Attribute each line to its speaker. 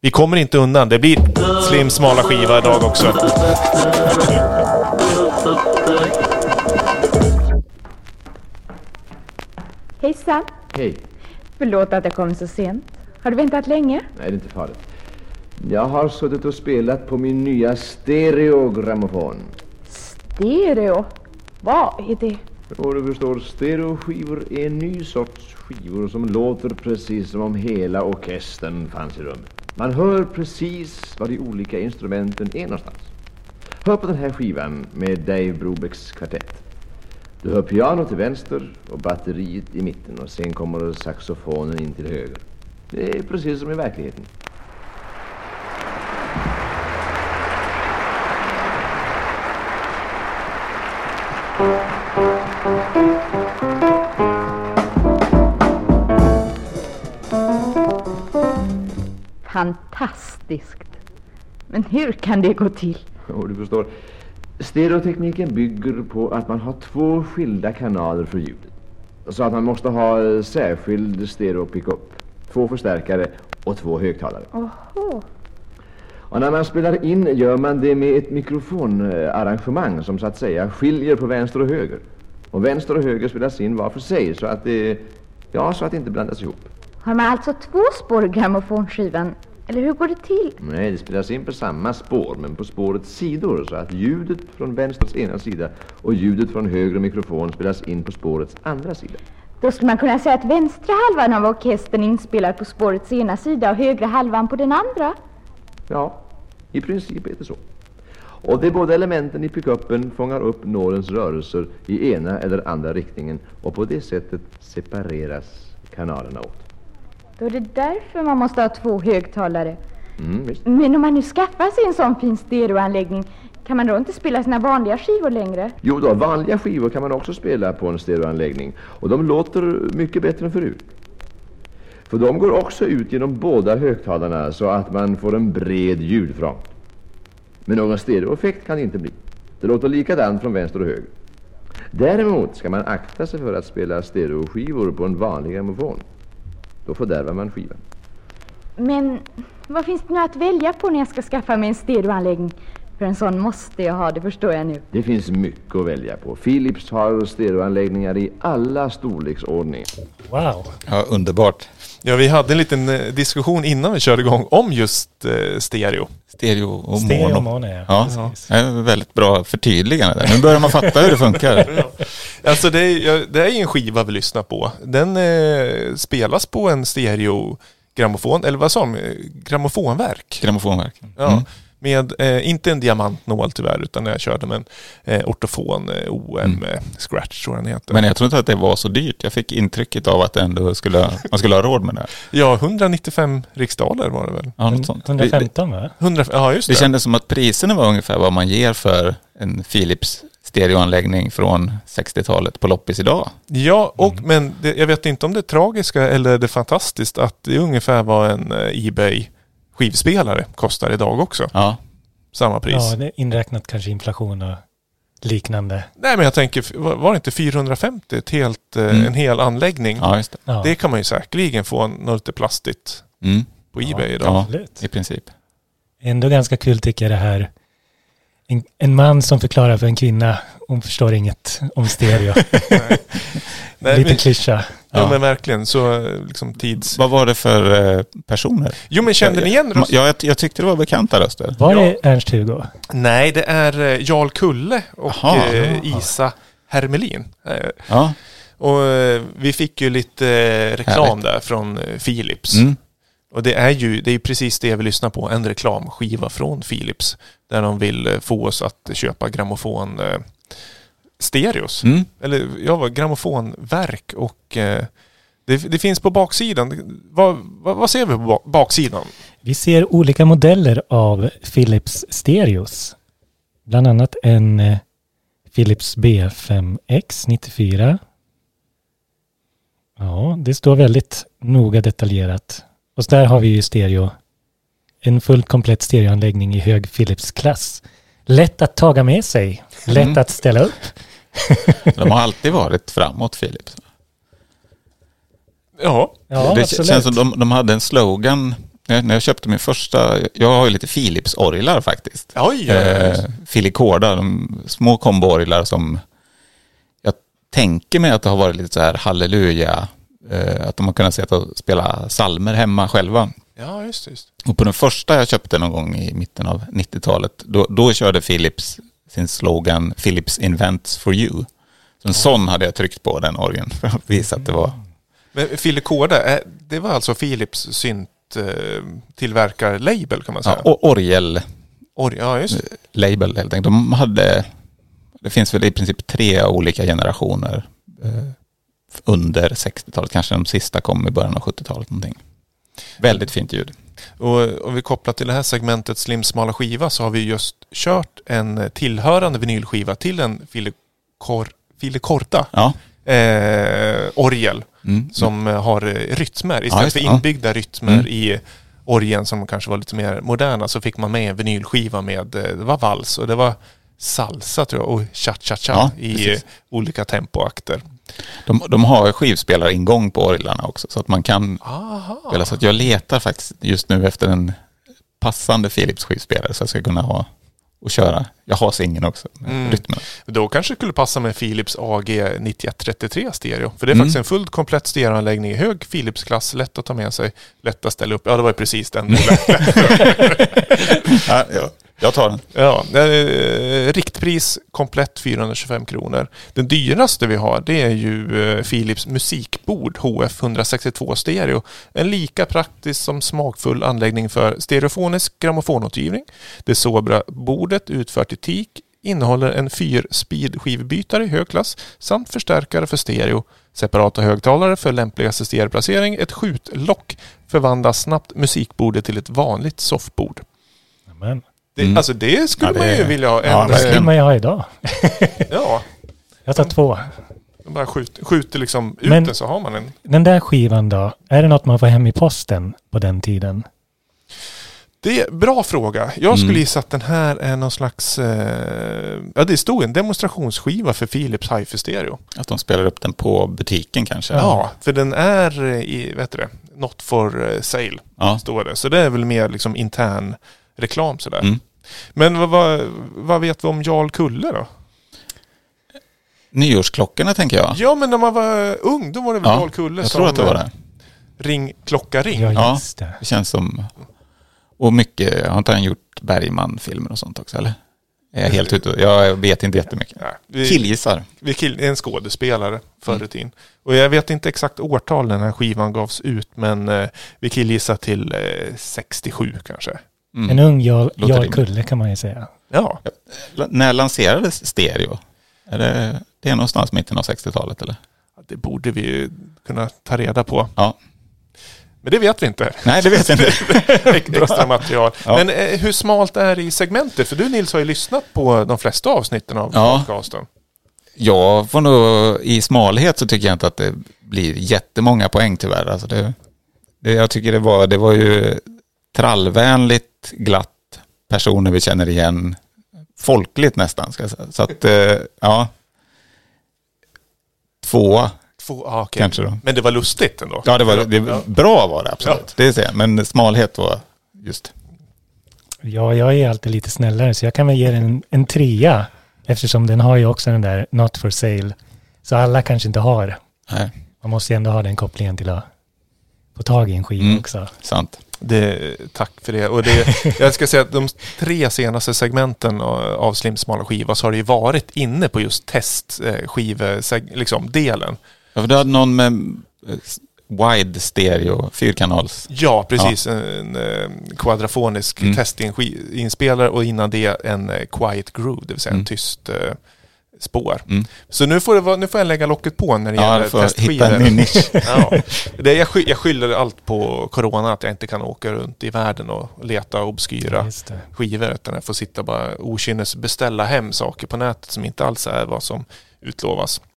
Speaker 1: Vi kommer inte undan. Det blir slim, smala skiva idag också.
Speaker 2: Hejsan.
Speaker 3: Hej.
Speaker 2: Förlåt att jag kom så sent. Har du väntat länge?
Speaker 3: Nej, det är inte farligt. Jag har suttit och spelat på min nya stereogrammofon.
Speaker 2: Stereo? Vad är det?
Speaker 3: Och du förstår, stereoskivor är en ny sorts skivor som låter precis som om hela orkestern fanns i rummet. Man hör precis var de olika instrumenten är någonstans. Hör på den här skivan med Dave Brobecks kvartett. Du hör piano till vänster och batteriet i mitten och sen kommer saxofonen in till höger. Det är precis som i verkligheten.
Speaker 2: Fantastiskt. Men hur kan det gå till?
Speaker 3: Och du förstår, stereotekniken bygger på att man har två skilda kanaler för ljudet. Så att man måste ha eh, särskild stereo-pickup, två förstärkare och två högtalare.
Speaker 2: Oho.
Speaker 3: Och när man spelar in gör man det med ett mikrofonarrangemang som så att säga skiljer på vänster och höger. Och vänster och höger spelas in var för sig så att det, ja, så att det inte blandas ihop.
Speaker 2: Har man alltså två spår i grammofonskivan? Eller hur går det till?
Speaker 3: Nej, det spelas in på samma spår, men på spårets sidor så att ljudet från vänsters ena sida och ljudet från höger mikrofon spelas in på spårets andra sida.
Speaker 2: Då skulle man kunna säga att vänstra halvan av orkestern är inspelad på spårets ena sida och högra halvan på den andra.
Speaker 3: Ja, i princip är det så. Och de båda elementen i pickupen fångar upp nålens rörelser i ena eller andra riktningen och på det sättet separeras kanalerna åt.
Speaker 2: Då är det därför man måste ha två högtalare.
Speaker 3: Mm, visst.
Speaker 2: Men om man nu skaffar sig en sån fin stereoanläggning, kan man då inte spela sina vanliga skivor längre?
Speaker 3: Jo då, vanliga skivor kan man också spela på en stereoanläggning och de låter mycket bättre än förut. För de går också ut genom båda högtalarna så att man får en bred ljudfront. Men någon stereoeffekt kan det inte bli. Det låter likadant från vänster och höger. Däremot ska man akta sig för att spela stereoskivor på en vanlig grammofon. Då fördärvar man skivan.
Speaker 2: Men vad finns det nu att välja på när jag ska skaffa mig en stereoanläggning? För en sån måste jag ha, det förstår jag nu.
Speaker 3: Det finns mycket att välja på. Philips har stereoanläggningar i alla storleksordningar.
Speaker 1: Wow.
Speaker 4: Ja, underbart.
Speaker 1: Ja, vi hade en liten eh, diskussion innan vi körde igång om just eh, stereo.
Speaker 4: Stereo och
Speaker 5: Stereo
Speaker 4: mono.
Speaker 5: och mono, ja.
Speaker 4: ja. ja. Väldigt bra förtydligande där. Nu börjar man fatta hur det funkar.
Speaker 1: Alltså det är, ja, det är ju en skiva vi lyssnar på. Den eh, spelas på en stereo grammofon, eller vad sa de? Eh, Grammofonverk.
Speaker 4: Grammofonverk.
Speaker 1: Ja. Med, eh, inte en diamantnål tyvärr, utan jag körde med en eh, ortofon eh, OM eh, Scratch, tror jag den heter.
Speaker 4: Men jag tror inte att det var så dyrt. Jag fick intrycket av att det ändå skulle, man skulle ha råd med det.
Speaker 1: Ja, 195 riksdaler var det väl?
Speaker 4: Ja, något sånt. Det, det,
Speaker 5: 115 va?
Speaker 1: 100, ja, just
Speaker 4: det
Speaker 1: det.
Speaker 4: kändes som att priserna var ungefär vad man ger för en Philips stereoanläggning från 60-talet på loppis idag.
Speaker 1: Ja, och,
Speaker 4: Mm.
Speaker 1: men det, jag vet inte om det är tragiska eller det är fantastiskt att det är ungefär vad en eh, Ebay skivspelare kostar idag också.
Speaker 4: Ja,
Speaker 1: Samma pris.
Speaker 5: Ja, det är inräknat kanske inflation och liknande.
Speaker 1: Nej men jag tänker, f- var var det inte 450 ett helt, eh,
Speaker 4: Mm.
Speaker 1: en hel anläggning?
Speaker 4: ja just det.
Speaker 5: Ja,
Speaker 1: Det kan man ju säkerligen få något lite plastigt
Speaker 4: Mm.
Speaker 1: på Ebay idag.
Speaker 4: Ja,
Speaker 5: absolut.
Speaker 4: i princip.
Speaker 5: Ändå ganska kul tycker jag det här. En, en man som förklarar för en kvinna, hon förstår inget om stereo.
Speaker 1: Nej,
Speaker 5: Liten
Speaker 1: men,
Speaker 5: klyscha.
Speaker 1: ja.
Speaker 4: Ja.
Speaker 1: men verkligen, så eh, liksom tids...
Speaker 4: Vad var det för eh, personer?
Speaker 1: Jo men kände ni igen
Speaker 4: Ja,
Speaker 1: rösten?
Speaker 4: jag, jag tyckte det var bekanta röster.
Speaker 5: Var
Speaker 1: Ja.
Speaker 5: det Ernst-Hugo?
Speaker 1: Nej, det är eh, Jarl Kulle och
Speaker 4: Jaha.
Speaker 1: eh, Isa Hermelin. Eh,
Speaker 4: Ja.
Speaker 1: Och eh, vi fick ju lite eh, reklam
Speaker 4: Härligt.
Speaker 1: där från eh, Philips.
Speaker 4: Mm.
Speaker 1: Och det är ju det är ju precis det vi lyssnar på, en reklamskiva från Philips. Där de vill eh, få oss att köpa grammofon eh, stereos.
Speaker 4: Mm.
Speaker 1: Eller jag var grammofonverk och eh, det, det finns på baksidan. Vad, vad, vad ser vi på ba- baksidan?
Speaker 5: Vi ser olika modeller av Philips stereos. Bland annat en eh, Philips B5X 94. Ja, det står väldigt noga detaljerat. Och så där har vi ju stereo. En fullt komplett stereoanläggning i hög Philips-klass. Lätt att taga med sig, lätt
Speaker 4: Mm.
Speaker 5: att ställa upp.
Speaker 4: De har alltid varit framåt, Philips.
Speaker 1: Ja,
Speaker 5: Ja,
Speaker 4: det
Speaker 5: absolut.
Speaker 4: känns som de, de hade en slogan när när jag köpte min första, jag har ju lite Philips-orglar faktiskt.
Speaker 1: Oj!
Speaker 4: Eh, Filicorda, de små komboorglar som jag tänker mig att det har varit lite så här halleluja, eh, att de har kunnat sitta och spela salmer hemma själva.
Speaker 1: Ja, just det. Just.
Speaker 4: Och på den första jag köpte någon gång i mitten av 90-talet, då, då körde Philips sin slogan Philips invents for you. Så en sån hade jag tryckt på den orgeln för att visa att det var
Speaker 1: Men Filicorda, eh, det var alltså Philips synt eh, tillverkar-label kan man säga.
Speaker 4: ja, o- orgel.
Speaker 1: Or- ja just det.
Speaker 4: label helt enkelt. De hade, det finns väl i princip tre olika generationer eh, under 60-talet, kanske de sista kom i början av 70-talet någonting. Väldigt fint ljud.
Speaker 1: Och om vi kopplar till det här segmentet slimsmala skiva så har vi just kört en tillhörande vinylskiva till en Filicor- Filicorda
Speaker 4: Ja.
Speaker 1: eh, orgel
Speaker 4: Mm.
Speaker 1: som eh, har eh, rytmer. Istället
Speaker 4: just
Speaker 1: för
Speaker 4: det, ja.
Speaker 1: inbyggda rytmer
Speaker 4: Mm.
Speaker 1: i orgeln som kanske var lite mer moderna så fick man med en vinylskiva med, eh, det var vals och det var salsa tror jag och cha-cha-cha
Speaker 4: Ja,
Speaker 1: i eh,
Speaker 4: precis.
Speaker 1: olika tempoakter.
Speaker 4: De, de har skivspelaringång på orglarna också så att man kan
Speaker 1: Aha.
Speaker 4: spela. Så att jag letar faktiskt just nu efter en passande Philips skivspelare så jag ska kunna ha och köra. Jag har singeln också, med
Speaker 1: Mm.
Speaker 4: rytmen.
Speaker 1: Då kanske det skulle passa med Philips AG 9133 stereo. För det är
Speaker 4: Mm.
Speaker 1: faktiskt en fullt komplett stereoanläggning i hög Philips-klass, lätt att ta med sig, lätt att ställa upp. Ja, det var ju precis den.
Speaker 4: Ja, jag- jag tar den.
Speaker 1: Ja, eh, riktpris komplett 425 kronor. Den dyraste vi har det är ju eh, Philips musikbord HF 162 stereo. En lika praktisk som smakfull anläggning för stereofonisk grammofonåtergivning. Det sobra bordet utfört i teak innehåller en 4-speed skivbytare i hög klass samt förstärkare för stereo, separata högtalare för lämpligaste stereoplacering, ett skjutlock förvandlar snabbt musikbordet till ett vanligt soffbord.
Speaker 5: Amen.
Speaker 1: Det,
Speaker 4: Mm.
Speaker 1: Alltså det skulle
Speaker 4: Ja, det-
Speaker 1: man ju vilja ha. En,
Speaker 4: ja,
Speaker 1: ja,
Speaker 5: Det skulle man ju ha idag.
Speaker 1: ja,
Speaker 5: Jag tar två.
Speaker 1: de bara skjuter, skjuter liksom ut
Speaker 5: Men-
Speaker 1: den så har man en.
Speaker 5: Den där skivan då, är det något man får hem i posten på den tiden?
Speaker 1: Det är bra fråga. Jag skulle
Speaker 4: Mm.
Speaker 1: gissa att den här är någon slags... Eh, ja, det stod en demonstrationsskiva för Philips Hi-Fi Stereo.
Speaker 4: Att de spelar upp den på butiken kanske.
Speaker 1: Ja. för den är eh, i, vet du det, Not for eh, sale,
Speaker 4: Ja.
Speaker 1: står det. Så det är väl mer liksom intern reklam sådär.
Speaker 4: Mm.
Speaker 1: Men vad, vad, vad vet vi om Jarl Kulle då?
Speaker 4: Nyårsklockorna tänker jag.
Speaker 1: Ja, men när man var ung då var det väl Jarl Kulle
Speaker 4: jag
Speaker 1: som...
Speaker 4: tror att det var det.
Speaker 1: Ring, klocka, ring.
Speaker 5: Ja,
Speaker 4: Ja. Mm.
Speaker 5: just det.
Speaker 4: Det känns som... Och mycket, har inte han gjort Bergman-filmer och sånt också eller? Är jag helt ute? Jag vet inte jättemycket.
Speaker 1: Nej, vi-
Speaker 4: Killgissar.
Speaker 1: Vi kill- en skådespelare
Speaker 4: Mm.
Speaker 1: förr i tiden. Och jag vet inte exakt årtal när den här skivan gavs ut, men eh, vi killgissar till eh, 67 kanske.
Speaker 5: En
Speaker 4: Mm.
Speaker 5: ung Jarl,
Speaker 4: Låter
Speaker 5: Jarl
Speaker 4: rimligt.
Speaker 5: Kulle kan man ju säga.
Speaker 1: Ja,
Speaker 4: L- När lanserades stereo? Är det, det är någonstans mitten av 60-talet eller?
Speaker 1: det borde vi ju kunna ta reda på.
Speaker 4: Ja.
Speaker 1: Men det vet vi inte.
Speaker 4: Nej, det vet jag inte.
Speaker 1: Ex- Extra material.
Speaker 4: Ja.
Speaker 1: Men eh, hur smalt är det i segmentet? För du Nils har ju lyssnat på de flesta avsnitten av
Speaker 4: Ja.
Speaker 1: podcasten.
Speaker 4: Jag får nog, i smalhet så tycker jag inte att det blir jättemånga poäng tyvärr. Alltså det, det, jag tycker det var, det var ju trallvänligt, glatt, personer vi känner igen, folkligt nästan ska jag säga. Så att, eh, ja, tvåa
Speaker 1: Två, ah, okej.
Speaker 4: kanske då.
Speaker 1: Men det var lustigt ändå.
Speaker 4: Ja, det var, det,
Speaker 1: Ja.
Speaker 4: bra var det absolut, det ser jag. Men smalhet var just,
Speaker 5: Ja, jag är alltid lite snällare så jag kan väl ge den en, en trea. Eftersom den har ju också den där not for sale. Så alla kanske inte har.
Speaker 4: nej,
Speaker 5: Man måste ju ändå ha den kopplingen till att få tag i en skiva
Speaker 4: Mm.
Speaker 5: också.
Speaker 4: sant.
Speaker 1: Det, tack för det. Och det. Jag ska säga att de tre senaste segmenten av Slimsmala skiva så har det ju varit inne på just testskivdelen. Liksom, delen.
Speaker 4: Ja, för du hade någon med eh, wide stereo, fyrkanals.
Speaker 1: ja, precis. En eh, quadrafonisk
Speaker 4: Mm.
Speaker 1: testinspelare och innan det en eh, quiet groove, det vill säga en
Speaker 4: Mm.
Speaker 1: tyst eh, spår.
Speaker 4: Mm.
Speaker 1: Så nu får, det vara, nu får jag lägga locket på när det
Speaker 4: Ja,
Speaker 1: gäller
Speaker 4: du får hitta en ny
Speaker 1: testskivor.
Speaker 4: nisch.
Speaker 1: Ja. Det, jag, sky- jag skyller allt på corona, att jag inte kan åka runt i världen och leta obskyra
Speaker 5: Just det.
Speaker 1: skivor utan jag får sitta bara okynnes beställa hem saker på nätet som inte alls är vad som utlovas.